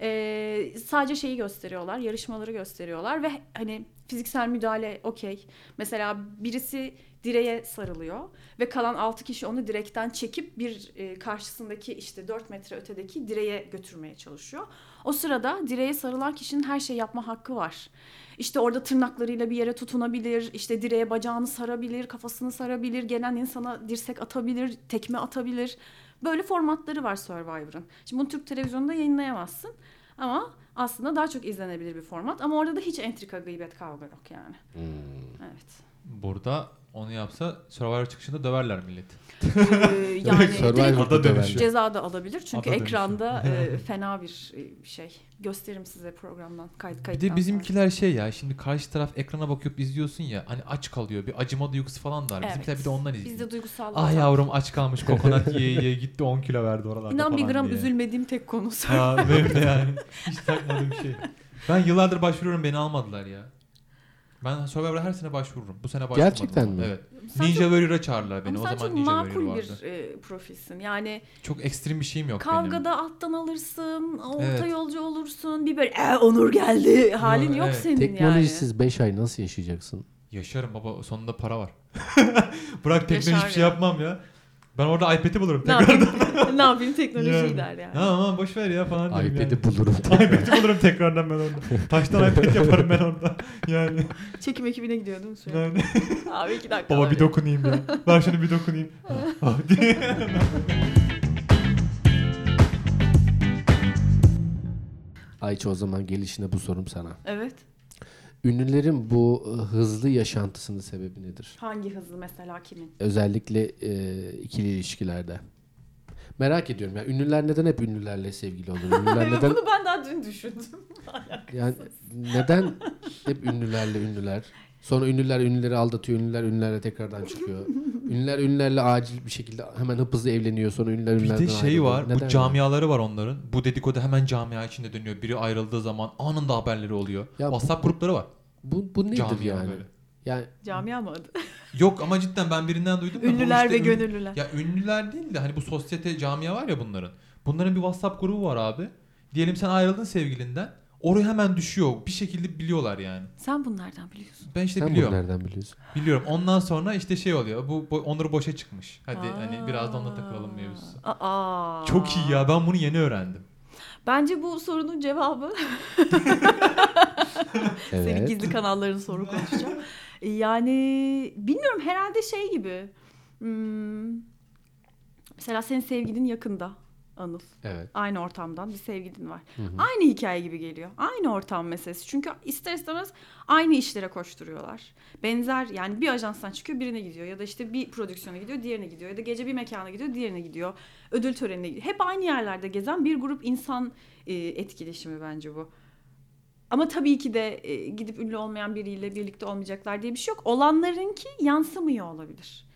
e, sadece şeyi gösteriyorlar, yarışmaları gösteriyorlar ve hani fiziksel müdahale okey. Mesela birisi direğe sarılıyor ve kalan 6 kişi onu direkten çekip bir e, karşısındaki işte 4 metre ötedeki direğe götürmeye çalışıyor. O sırada direğe sarılan kişinin her şey yapma hakkı var. İşte orada tırnaklarıyla bir yere tutunabilir, işte direğe bacağını sarabilir, kafasını sarabilir, gelen insana dirsek atabilir, tekme atabilir. Böyle formatları var Survivor'ın. Şimdi bunu Türk televizyonunda yayınlayamazsın ama aslında daha çok izlenebilir bir format. Ama orada da hiç entrika, gıybet, kavga yok yani.
Hmm.
Evet.
Burada onu yapsa Survivor çıkışında döverler milleti.
Ee, yani direkt
Survivor'da
Ada
da
dönüşü.
bence.
ceza da alabilir çünkü
Ada dönüşü.
ekranda e, fena bir e, şey. Gösteririm size programdan kayıt
Bir
kayıttan
de
sonra.
bizimkiler şey ya şimdi karşı taraf ekrana bakıp izliyorsun ya hani aç kalıyor bir acıma duygusu falan da var.
Evet.
Bizimkiler bir de ondan izliyor.
Bizde duygusal.
Ah yavrum aç kalmış kokonat yiye yiye gitti 10 kilo verdi oralarda
İnan bir
falan
gram
diye.
üzülmediğim tek konu Survivor.
Ha benim de yani hiç takmadığım şey. Ben yıllardır başvuruyorum beni almadılar ya. Ben Survivor'a her sene başvururum. Bu sene başvurmadım.
Gerçekten mi?
Evet.
Sen
Ninja Warrior'a çağırdılar beni.
Ama
O
sen
zaman
çok
Ninja
makul
Warrior vardı.
bir e, profilsin. Yani
Çok ekstrem bir şeyim yok benim.
kavgada alttan alırsın, orta
Evet.
yolcu olursun. Bir böyle "Ee, Onur geldi halin
Yok,
yok
evet.
senin yani.
Teknolojisiz 5 ay nasıl yaşayacaksın?
Yaşarım baba sonunda para var. Bırak teknoloji
Yaşar
hiçbir şey
ya.
yapmam ya. Ben orada iPad'i bulurum
ne
tekrar.
yapayım? ne yapayım teknolojiyi
Yani.
der yani.
Ha aman boş ver ya falan derim yani.
iPad'i bulurum.
iPad'i bulurum tekrardan ben orada. Taştan iPad yaparım ben orada. Yani.
Çekim ekibine gidiyor değil mi sürekli?
yani.
Abi iki dakika.
Baba
var
bir
ya.
dokunayım ya. Ben şunu bir dokunayım. Ah, diye.
Ayça o zaman gelişine bu sorum sana.
Evet.
Ünlülerin bu e, hızlı yaşantısının sebebi nedir?
Hangi hızlı mesela kimin?
Özellikle e, ikili ilişkilerde. Merak ediyorum ya ünlüler neden hep ünlülerle sevgili olur? Ünlüler neden
Bunu ben daha dün düşündüm.
yani neden hep ünlülerle ünlüler? Sonra ünlüler ünlüleri aldatıyor, ünlüler ünlülerle tekrardan çıkıyor. Ünlüler ünlülerle acil bir şekilde hemen hıp hızlı evleniyor. Sonra ünlüler
Bir
ünlülerden
de şey
ayrılıyor.
var.
Neden
Bu
yani?
camiaları var onların. Bu dedikodu hemen camia içinde dönüyor. Biri ayrıldığı zaman anında haberleri oluyor.
Ya bu-
WhatsApp grupları var.
Bu, bu nedir
Camia
yani?
böyle.
Yani
Camia mı adı?
Yok ama cidden ben birinden duydum. da bu
Ünlüler
işte
ve
ün-
gönüllüler.
Ya ünlüler değil de hani bu sosyete camia var ya bunların. Bunların bir WhatsApp grubu var abi. Diyelim sen ayrıldın sevgilinden. Oraya hemen düşüyor. Bir şekilde biliyorlar yani.
Sen bunlardan biliyorsun.
Ben işte
sen bunu
biliyorum.
nereden biliyorsun?
Biliyorum. Ondan sonra işte şey oluyor. Bu, bu Onur boşa çıkmış. Hadi
Aa.
hani biraz da onunla takılalım mevzusu.
Aa.
Çok iyi ya. Ben bunu yeni öğrendim.
Bence bu sorunun cevabı Senin
Evet.
gizli kanalların sorun konuşacağım. E, Yani bilmiyorum herhalde şey gibi. Hmm, mesela senin sevgilin yakında Anıl.
Evet.
Aynı ortamdan bir sevgilin var.
Hı hı.
Aynı hikaye gibi geliyor. Aynı ortam meselesi. Çünkü ister istemez aynı işlere koşturuyorlar. Benzer yani bir ajanstan çıkıyor birine gidiyor. Ya da işte bir prodüksiyona gidiyor diğerine gidiyor. Ya da gece bir mekana gidiyor diğerine gidiyor. Ödül törenine gidiyor. Hep aynı yerlerde gezen bir grup insan e, etkileşimi bence bu. Ama tabii ki de e, gidip ünlü olmayan biriyle birlikte olmayacaklar diye bir şey yok. Olanlarınki yansımıyor olabilir.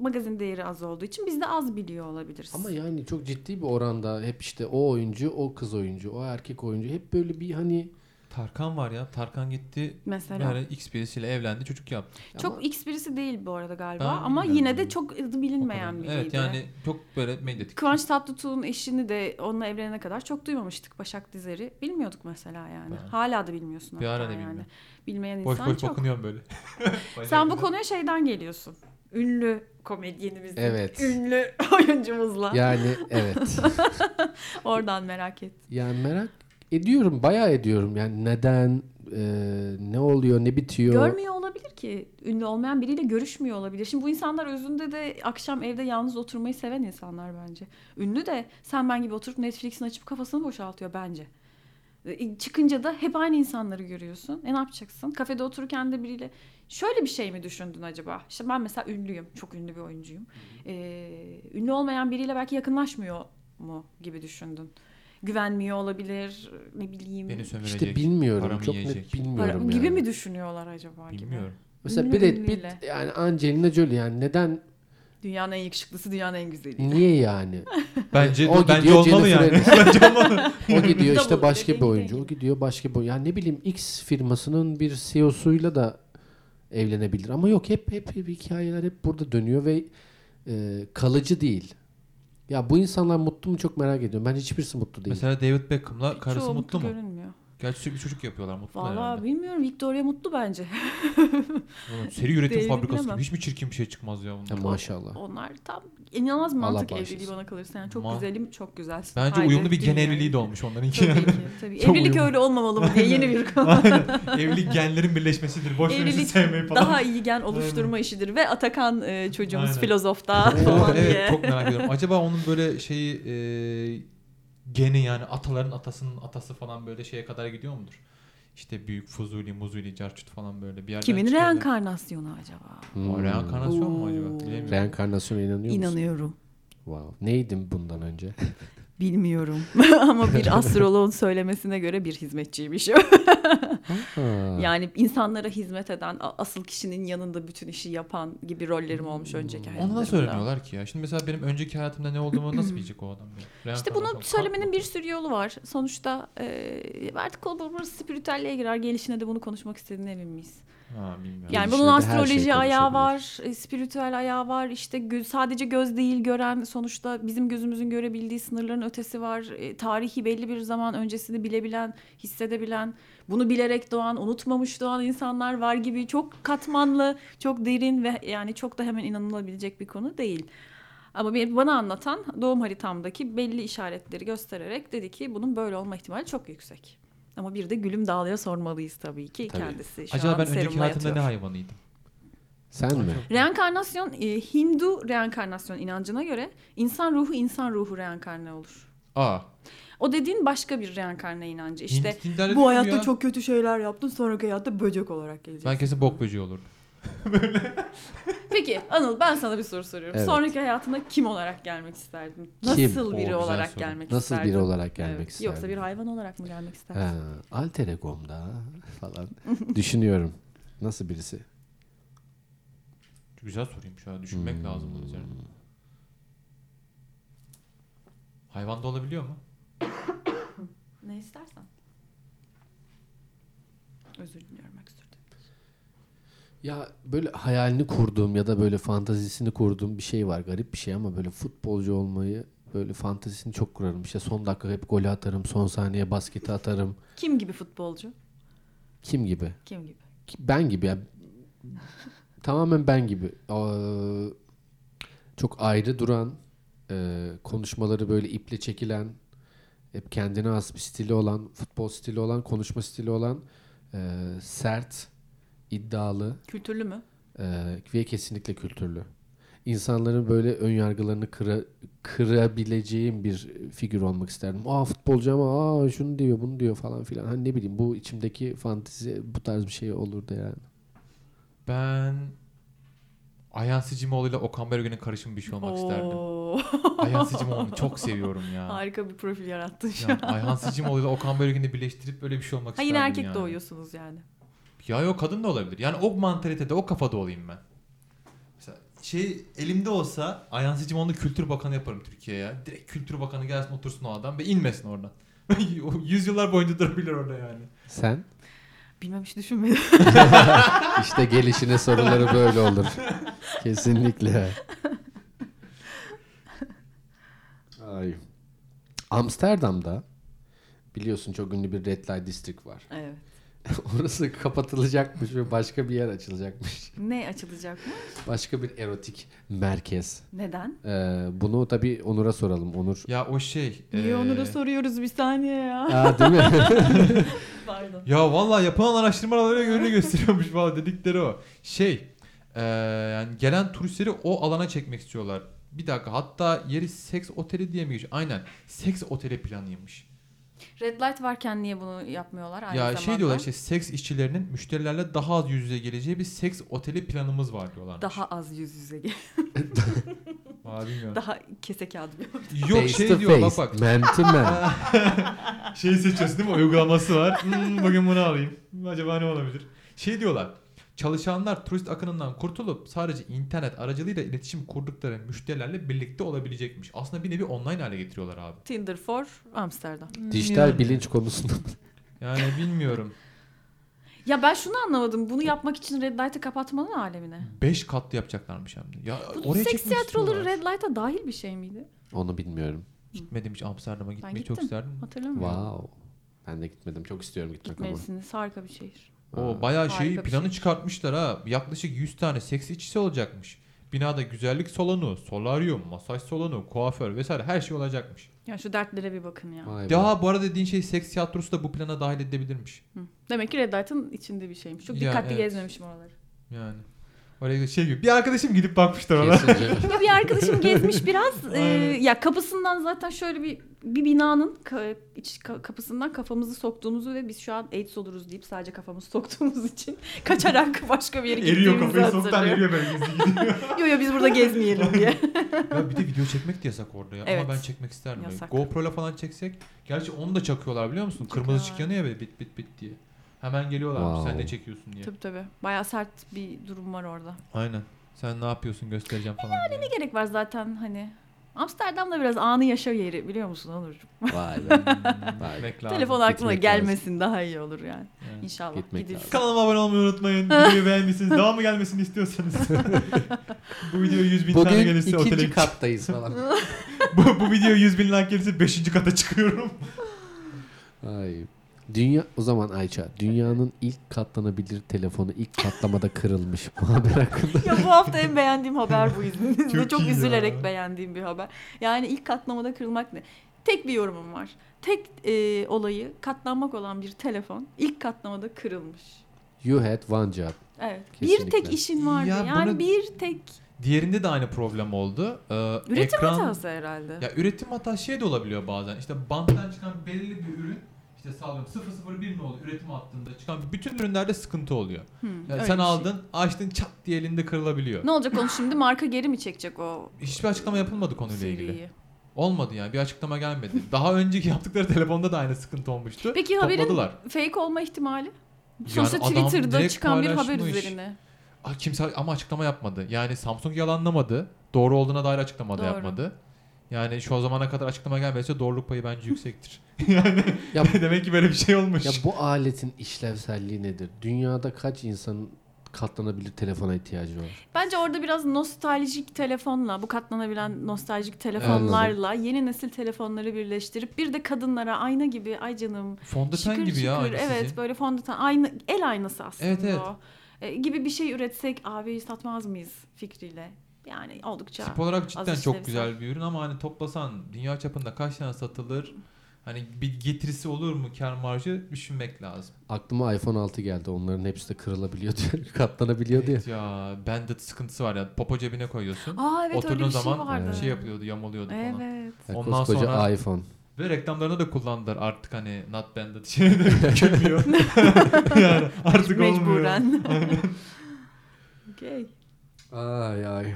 Magazin değeri az olduğu için biz de az biliyor olabiliriz.
Ama yani çok ciddi bir oranda hep işte o oyuncu, o kız oyuncu, o erkek oyuncu hep böyle bir hani
Tarkan var ya. Tarkan gitti.
Mesela.
Yani X birisiyle evlendi. Çocuk yaptı.
Çok
Ama-
X birisi değil bu arada galiba
Ben
ama
bilmiyorum.
yine de çok adı bilinmeyen biriydi.
Evet yani çok böyle medyatik.
Kıvanç Tatlıtuğ'un eşini de onunla evlenene kadar çok duymamıştık Başak Dizer'i. Bilmiyorduk mesela yani.
Ben-
Hala da bilmiyorsun.
Bir ara
hatta
da
yani.
bilmiyorum.
Bilmeyen
Boş
insan
boş
çok.
bakınıyorum böyle. şey
Sen bu konuya şeyden geliyorsun. Ünlü komedyenimizin,
Evet.
ünlü oyuncumuzla.
yani evet.
Oradan merak et.
Yani merak ediyorum, bayağı ediyorum. Yani neden, e, ne oluyor, ne bitiyor?
Görmüyor olabilir ki. Ünlü olmayan biriyle görüşmüyor olabilir. Şimdi bu insanlar özünde de akşam evde yalnız oturmayı seven insanlar bence. Ünlü de sen ben gibi oturup Netflix'ini açıp kafasını boşaltıyor bence. E, Çıkınca da hep aynı insanları görüyorsun. E ne yapacaksın? Kafede otururken de biriyle şöyle bir şey mi düşündün acaba? İşte ben mesela ünlüyüm. Çok ünlü bir oyuncuyum. E, ünlü olmayan biriyle belki yakınlaşmıyor mu gibi düşündün. Güvenmiyor olabilir. Ne bileyim.
Beni sömürecek.
İşte bilmiyorum.
paramı
Çok net
yiyecek.
Para-
bilmiyorum
gibi
yani.
mi düşünüyorlar acaba? gibi?
Bilmiyorum.
Mesela
Ünlü
Brad Pitt
ünlüyle.
yani Angelina Jolie yani neden
Dünyanın en yakışıklısı, dünyanın en güzeli.
niye yani?
Bence
O
bence
gidiyor,
olmalı yani.
Jennifer
bence olmalı.
O gidiyor
Double
işte başka bir
dediğin
oyuncu. O
gibi.
gidiyor başka bir oyuncu. Yani ne bileyim X firmasının bir CEO'suyla da evlenebilir. Ama yok hep hep, hep hikayeler hep burada dönüyor ve e, kalıcı değil. Ya bu insanlar mutlu mu çok merak ediyorum. Ben hiçbirisi mutlu değil.
Mesela David Beckham'la karısı
Çoğu
mutlu mu?
görünmüyor.
Gerçi sürekli çocuk yapıyorlar mutlu
Valla
herhalde.
bilmiyorum. Victoria mutlu bence.
Oğlum, seri üretim
David
fabrikası
bilemem.
gibi. Hiçbir çirkin bir şey çıkmaz ya bundan.
Ya maşallah.
Onlar tam inanılmaz mantık
bağışlasın.
evliliği bana kalırsa. Yani çok
Ma-
güzelim, çok güzelsin.
Bence
Haydi,
uyumlu bir gen
dünyayı.
evliliği de olmuş onlarınki
Tabii
yani.
ki. Tabii.
Çok
Evlilik
uyumlu.
öyle olmamalı mı diye yeni bir konu.
Evlilik genlerin birleşmesidir. Boş verin siz
Evlilik
sevmeyi falan.
daha iyi gen oluşturma işidir ve Atakan e, çocuğumuz
Aynen.
filozofta
Oo,
falan diye.
evet çok merak ediyorum. Acaba onun böyle şeyi e, geni yani ataların atasının atası falan böyle şeye kadar gidiyor mudur? İşte büyük Fuzuli, Muzuli, Carçut falan böyle bir şey yerden
Kimin
çıkıyor da-
reenkarnasyonu acaba?
Hmm.
Aa, Reenkarnasyon mu acaba?
Oo.
Bilemiyorum.
Reenkarnasyona inanıyor musun?
İnanıyorum.
Wow. Neydim bundan önce?
Bilmiyorum. Ama bir astroloğun söylemesine göre bir hizmetçiymiş.
Ha.
Yani insanlara hizmet eden, a- asıl kişinin yanında bütün işi yapan gibi rollerim olmuş önceki hayatımda.
Onu nasıl öğreniyorlar ki ya? Şimdi mesela benim önceki hayatımda ne olduğumu nasıl bilecek o adam? ya?
Hmm. İşte
Reenkarnasyon.
bunu söylemenin bir sürü yolu var. Sonuçta e, artık kol burası spiritüelliğe girer. Gelişine de bunu konuşmak istediğine emin miyiz?
Ha, bilmiyorum.
Yani
Gelişine
bunun
de her şey
astroloji ayağı var,
konuşabilir.
e, spiritüel ayağı var. İşte gö- sadece göz değil gören sonuçta bizim gözümüzün görebildiği sınırların ötesi var. E, tarihi belli bir zaman öncesini bilebilen, hissedebilen, bunu bilerek doğan, unutmamış doğan insanlar var gibi çok katmanlı, çok derin ve yani çok da hemen inanılabilecek bir konu değil. Ama bir- bana anlatan doğum haritamdaki belli işaretleri göstererek dedi ki bunun böyle olma ihtimali çok yüksek. Ama bir de gülüm dağlıya sormalıyız tabii ki
Tabii.
kendisi. Şu
Acaba
an
ben önceki
serumla
hayatımda ne
yatıyor.
hayvanıydım?
Sen mi?
Reenkarnasyon e, Hindu reenkarnasyon inancına göre insan ruhu insan ruhu reenkarne olur.
Aa.
O dediğin başka bir reenkarne inancı. İşte
Hint- Hintler'de değil mi
bu hayatta
ya?
çok kötü şeyler yaptın sonraki hayatta böcek olarak geleceksin.
Ben kesin bok böceği olurdum.
Peki Anıl ben sana bir soru soruyorum.
Evet.
Sonraki hayatına kim olarak gelmek isterdin? Nasıl
Kim?
Oo,
biri
güzel
olarak
soru.
gelmek
Nasıl
isterdin?
biri olarak gelmek
Evet.
isterdin?
Yoksa bir hayvan olarak mı gelmek isterdin?
Ha, alter egom'da falan düşünüyorum. Nasıl birisi?
Güzel soruymuş ha. Düşünmek
Hmm.
lazım bunun üzerine. Hayvan da olabiliyor mu?
Ne istersen. Özür diliyorum öksürdüm.
Ya böyle hayalini kurduğum ya da böyle fantazisini kurduğum bir şey var. Garip bir şey ama böyle futbolcu olmayı böyle fantazisini çok kurarım. İşte son dakika hep golü atarım, son saniye basketi atarım.
Kim gibi futbolcu?
Kim gibi?
Kim gibi?
Ki- Ben gibi ya. Tamamen ben gibi. Ee, çok ayrı duran, e, konuşmaları böyle iple çekilen, hep kendine has bir stili olan, futbol stili olan, konuşma stili olan, e, sert, iddialı,
Kültürlü mü?
ee, ve kesinlikle kültürlü. İnsanların böyle ön yargılarını kıra, kırabileceğim bir figür olmak isterdim. Aa futbolcu ama aa şunu diyor bunu diyor falan filan. Hani ne bileyim bu içimdeki fantezi bu tarz bir şey olurdu yani.
Ben Ayhan Sicimoğlu ile Okan Bölge'nin karışımı bir şey olmak isterdim.
Oo.
Ayhan Sicimoğlu'nu çok seviyorum ya.
Harika bir profil yarattın şu
ya
an.
Ayhan Sicimoğlu ile Okan Bölge'ni birleştirip böyle bir şey olmak
Ha yine
isterdim
erkek
yani.
doğuyorsunuz yani.
Ya yok kadın da olabilir. Yani o mantalitede o kafada olayım ben. Mesela şey elimde olsa Ayhan Sicimoğlu'nu Kültür Bakanı yaparım Türkiye'ye. Direkt Kültür Bakanı gelsin otursun o adam ve inmesin oradan. O Yüzyıllar boyunca durabilir orada yani.
Sen?
Bilmem hiç düşünmedim.
İşte gelişine soruları böyle olur. Kesinlikle. Ay. Amsterdam'da biliyorsun çok ünlü bir Red Light District var.
evet.
Orası kapatılacakmış ve başka bir yer açılacakmış.
Ne açılacak mı?
Başka bir erotik merkez.
Neden?
Ee, bunu tabii Onur'a soralım. Onur.
Ya o şey.
Niye
eee,
onu da soruyoruz bir saniye ya.
Aa, değil mi?
Pardon.
Ya valla yapılan araştırmalara göre gösteriyormuş valla dedikleri o. Şey eee, yani gelen turistleri o alana çekmek istiyorlar. Bir dakika hatta yeri seks oteli diye mi geçiyor? Aynen seks oteli planıymış.
Red light varken niye bunu yapmıyorlar aynı
ya
zamanda?
şey diyorlar işte seks işçilerinin müşterilerle daha az yüz yüze geleceği bir seks oteli planımız var diyorlar.
Daha az yüz yüze gel.
Valla bilmiyorum.
Daha kese kağıdı bir
Yok
Face
şey
to
diyor
face,
bak bak.
Man to man.
Şeyi seçiyorsun değil mi? Uygulaması var. Hmm, bugün bunu alayım. Acaba ne olabilir? Şey diyorlar. Çalışanlar turist akınından kurtulup sadece internet aracılığıyla iletişim kurdukları müşterilerle birlikte olabilecekmiş. Aslında bir nevi online hale getiriyorlar abi.
Tinder for Amsterdam.
Dijital
Yani-
bilinç konusunda.
Yani bilmiyorum.
Ya ben şunu anlamadım. Bunu yapmak için red light'ı kapatmanın alemine.
5 katlı yapacaklarmış hem de. Ya
Bu
oraya
seks
çekmek
tiyatroları
istiyorlar.
red light'a dahil bir şey miydi?
Onu bilmiyorum.
Gitmedim hiç Amsterdam'a gitmeyi çok
gittim.
isterdim.
Hatırlamıyorum.
Wow. Ben de gitmedim. Çok istiyorum gitmek ama.
Gitmelisiniz. Harika bir şehir.
O
Aa.
bayağı
Harika
şeyi
bir
planı
şey.
çıkartmışlar ha. Yaklaşık 100 tane seks işçisi olacakmış. Binada güzellik salonu, solaryum, masaj salonu, kuaför vesaire her şey olacakmış.
Ya şu dertlere bir bakın ya.
Vay be.
Daha bu arada dediğin şey seks tiyatrosu da bu plana dahil edilebilirmiş.
Hı. Demek ki red light'ın içinde bir şeymiş. Çok
Ya,
dikkatli
evet.
gezmemişim oraları.
Yani. Oraya da şey gibi. Bir arkadaşım gidip bakmışlar ona.
Kesince.
Ya bir arkadaşım gezmiş biraz. Ee,
Aynen.
ya kapısından zaten şöyle bir bir binanın ka- iç ka- kapısından kafamızı soktuğumuzu ve biz şu an AIDS oluruz deyip sadece kafamızı soktuğumuz için kaçarak başka bir yere
eriyor
gittiğimizi
kafayı soğuktan
hatırlıyor.
eriyor böyle gizli gidiyor.
Yo yo biz burada gezmeyelim diye.
ya bir de video çekmek de yasak orada ya.
Evet.
Ama ben çekmek isterdim. böyle.
Yasak.
GoPro'la falan çeczek. Gerçi onu da çakıyorlar biliyor musun? Kırmızı ışık
Çakıyorlar.
yanıyor ya böyle bit bit bit diye. Hemen geliyorlar
Wow.
sen ne çekiyorsun diye.
tabii tabii. Bayağı sert bir durum var orada.
Aynen. Sen ne yapıyorsun göstereceğim falan. diye.
Ne gerek var zaten hani. Amsterdam'da biraz anı yaşa yeri biliyor musun Onurcuğum?
Vay be.
Hmm,
Vay.
gitmek lazım.
Telefon aklına
gitmek
gelmesin daha iyi olur yani.
Yani.
İnşallah
Gitmek
gidilir.
lazım.
Kanalıma abone olmayı unutmayın. Videoyu beğendiyseniz daha mı gelmesini istiyorsanız. bu video 100 bin tane
Bugün
gelirse otele
ikinci
gideceğim.
kattayız falan.
bu, bu video 100 bin like gelirse 5. kata çıkıyorum.
Ay. Dünya o zaman Ayça dünyanın ilk katlanabilir telefonu ilk katlamada kırılmış. Bu haber hakkında.
ya bu hafta en beğendiğim haber bu izninizle.
Çok
Çok,
iyi ya.
üzülerek beğendiğim bir haber. Yani ilk katlamada kırılmak ne? Tek bir yorumum var. Tek e, olayı katlanmak olan bir telefon ilk katlamada kırılmış.
You had one job.
Evet. Bir
Kesinlikle.
tek işin vardı.
Ya
yani
bunu-
bir tek
Diğerinde de aynı problem oldu. Ee,
üretim
ekran...
hatası herhalde.
Ya üretim hatası şey de olabiliyor bazen. İşte banttan çıkan belli bir ürün işte sallıyorum 001 mi oldu üretim hattında çıkan bütün ürünlerde sıkıntı oluyor.
Hı,
Yani
öyle
sen
bir şey.
aldın, açtın çat diye elinde kırılabiliyor.
Ne olacak onu şimdi marka geri mi çekecek o
Hiçbir açıklama yapılmadı
Şey.
konuyla ilgili.
CV'yi?
Olmadı yani bir açıklama gelmedi. Daha önceki yaptıkları telefonda da aynı sıkıntı olmuştu.
Peki haberin-
Topladılar.
Fake olma ihtimali?
Yani
Sonuçta
adam
Twitter'da
direkt
çıkan bir haber
paylaşmış.
üzerine.
Ah, kimse ama açıklama yapmadı. Yani Samsung yalanlamadı. Doğru olduğuna dair açıklama da
Doğru.
yapmadı. Yani şu zamana kadar açıklama gelmediyse doğruluk payı bence yüksektir.
Ya,
Demek ki böyle bir şey olmuş.
ya bu aletin işlevselliği nedir? Dünyada kaç insanın katlanabilir telefona ihtiyacı var?
Bence orada biraz nostaljik telefonla, bu katlanabilen nostaljik telefonlarla yeni nesil telefonları birleştirip bir de kadınlara ayna gibi, ay canım,
Fondöten
şıkır
gibi
şıkır,
ya aynı
evet
sizin.
böyle fondöten, ayna, el aynası aslında
Evet, evet.
o. E, gibi bir şey üretsek abi satmaz mıyız fikriyle? Yani oldukça.
Tip olarak cidden
az
çok
işlevsel.
güzel bir ürün ama hani toplasan dünya çapında kaç tane satılır? Hani bir getirisi olur mu kar marjı düşünmek lazım.
Aklıma iPhone 6 geldi. Onların hepsi de kırılabiliyordu. katlanabiliyordu ya.
Evet ya bandit sıkıntısı var ya. Popo cebine koyuyorsun.
Aa evet öyle
Oturduğun
bir şey
zaman
vardı.
şey yapıyordu, yamuluyordu falan.
evet.
Ya
Ondan
koskoca
sonra-
iPhone.
Ve reklamlarına da kullandılar artık hani not banded şeyini de gömüyor. yani artık olmuyor.
Mecburen. Okey.
Ay ay.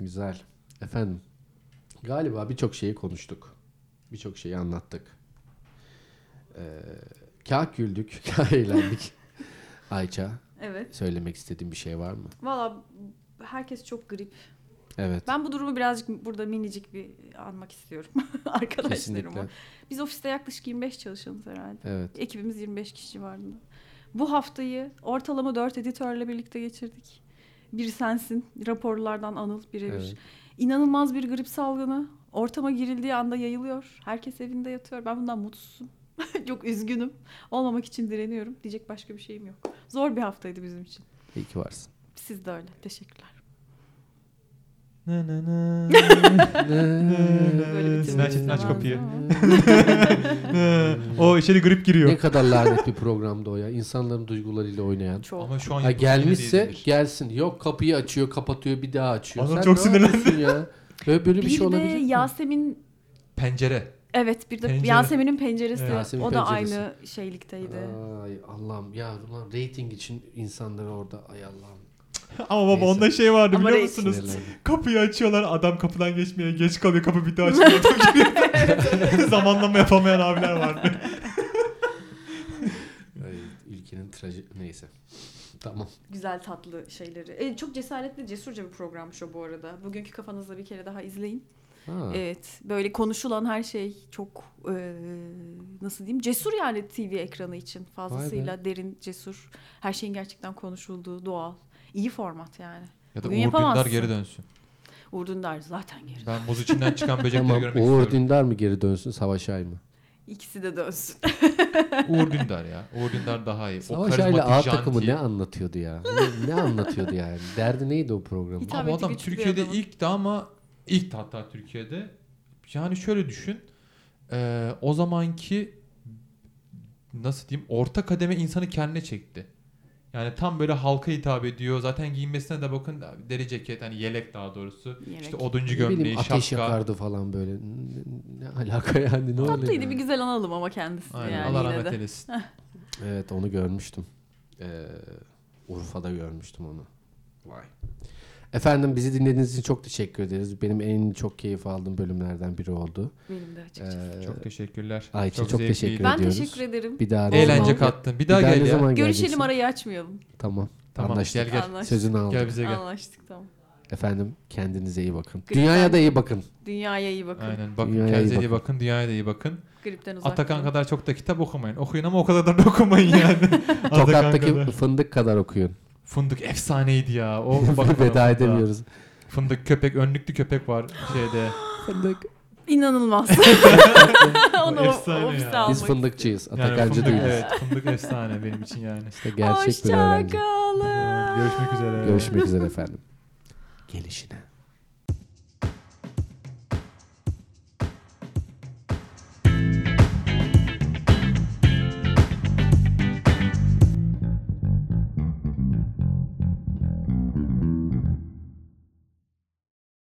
Güzel. Efendim. Galiba birçok şeyi konuştuk. Birçok şeyi anlattık. Ee, kah güldük, kah eğlendik. Ayça,
Evet.
söylemek istediğin bir şey var mı?
Valla herkes çok grip.
Evet.
Ben bu durumu birazcık burada minicik bir anmak istiyorum
Kesinlikle.
arkadaşlarıma. Biz ofiste yaklaşık 25 çalışanız herhalde.
Evet.
Ekibimiz 25 kişi vardı. Bu haftayı ortalama 4 editörle birlikte geçirdik. Bir sensin, raporlardan Anıl birebir.
Evet.
İnanılmaz bir grip salgını ortama girildiği anda yayılıyor. Herkes evinde yatıyor. Ben bundan mutsuzum. Çok üzgünüm. Olmamak için direniyorum. Diyecek başka bir şeyim yok. Zor bir haftaydı bizim için.
İyi ki varsın.
Siz de öyle. Teşekkürler.
Na na na.
Böyle bitirmek
Sinan Çetin aç
istemezdim
kapıyı.
ama.
o içeri grip
ne
giriyor.
kadar lanet bir programdı o ya. İnsanların duygularıyla oynayan.
Çok.
Ama şu an
Ha,
yapılmış yine
gelmişse
şey değildir.
gelsin. Yok kapıyı açıyor, kapatıyor, bir daha açıyor.
Adam
Sen
çok
ne yapıyorsun ya. Böyle, böyle bir,
bir,
şey
de
olabilir mi?
Yasemin
Pencere.
evet bir de
Pencere.
Yasemin'in penceresi
Evet.
Yasemin
o da
penceresi.
aynı şeylikteydi.
Ay Allah'ım ya ulan reyting için insanları orada ay Allah'ım.
Ama baba
Neyse.
onda şey vardı
Ama
biliyor
reis-
musunuz?
Sinirlendim.
Kapıyı açıyorlar adam kapıdan geçmeye geç kalıyor kapı bir daha açılıyor. adam giriyor. Zamanlama yapamayan abiler vardı.
Ay, ülkenin traji neyse. Tamam.
Güzel tatlı şeyleri. E, çok cesaretli cesurca bir programmış o bu arada. Bugünkü kafanızda bir kere daha izleyin.
Ha.
Evet böyle konuşulan her şey çok e, nasıl diyeyim cesur yani TV ekranı için fazlasıyla derin cesur. Her şeyin gerçekten konuşulduğu doğal. İyi format yani.
Ya
da Bugün Uğur Dündar yapamazsın. geri
dönsün.
Uğur Dündar zaten geri.
Ben buz içinden çıkan
Tamam. Uğur Dündar mı geri dönsün, Savaş Ay mı?
İkisi de dönsün.
Uğur Dündar ya. Uğur Dündar daha iyi.
Savaş Ay'la A takımı ne anlatıyordu ya? Ne, ne anlatıyordu yani? Derdi neydi o programın?
Hitap
Ama
ettiği
adam
güçlü bir
Türkiye'de
adamın.
ilk de ama ilk de hatta Türkiye'de. Yani şöyle düşün. Ee, o zamanki nasıl diyeyim orta kademe insanı kendine çekti. Yani tam böyle halka hitap ediyor. Zaten giyinmesine de bakın deri ceket hani yelek daha doğrusu.
Yelek.
İşte oduncu
Ne
gömleği,
bileyim ateş
şapka.
yapardı falan böyle. Ne, ne alaka yani ne oluyor?
Tatlıydı
yani?
bir güzel analım ama kendisini
Aynen.
yani
Allah
yine
rahmet
de.
eylesin.
Evet onu görmüştüm. Ee, Urfa'da görmüştüm onu. Vay. Efendim bizi dinlediğiniz için çok teşekkür ederiz. Benim en çok keyif aldığım bölümlerden biri oldu.
Benim de açıkçası.
Ee,
Çok teşekkürler.
Ayça, çok
zevkliydi.
teşekkür
ben
ediyoruz.
teşekkür ederim.
bir daha ne
Eğlence
zaman-
kattın. Bir
Bir daha,
daha gel
ne
ya.
zaman
Görüşelim
geleceksin?
arayı açmayalım.
Tamam.
Tamam
Anlaştık.
gel gel.
Anlaştık.
Sözünü aldım.
Gel bize gel.
Anlaştık tamam.
Efendim kendinize iyi bakın.
Gripten-
Dünyaya da iyi bakın.
Dünyaya iyi bakın.
Aynen. Bakın
Dünyaya iyi
kendinize iyi
bakın.
bakın. Dünyaya da iyi bakın.
Gripten uzak.
Atakan
durun.
kadar çok da kitap okumayın. Okuyun ama o kadar da okumayın yani. Atakan
Tokat'taki
kadar.
fındık kadar okuyun.
Fındık efsaneydi ya. Oh, O bak-
Veda edemiyoruz.
Fındık köpek, önlüklü köpek var şeyde.
Fındık.
İnanılmaz. ya onu
Efsane
ofiste
ya.
Biz
almak.
fındıkçıyız.
Yani
Atakarcı
fındık,
değiliz.
Evet fındık efsane benim için yani.
İşte gerçek bir öğrenci.
Hoşçakalın.
Görüşmek üzere.
Görüşmek üzere efendim. Gelişine.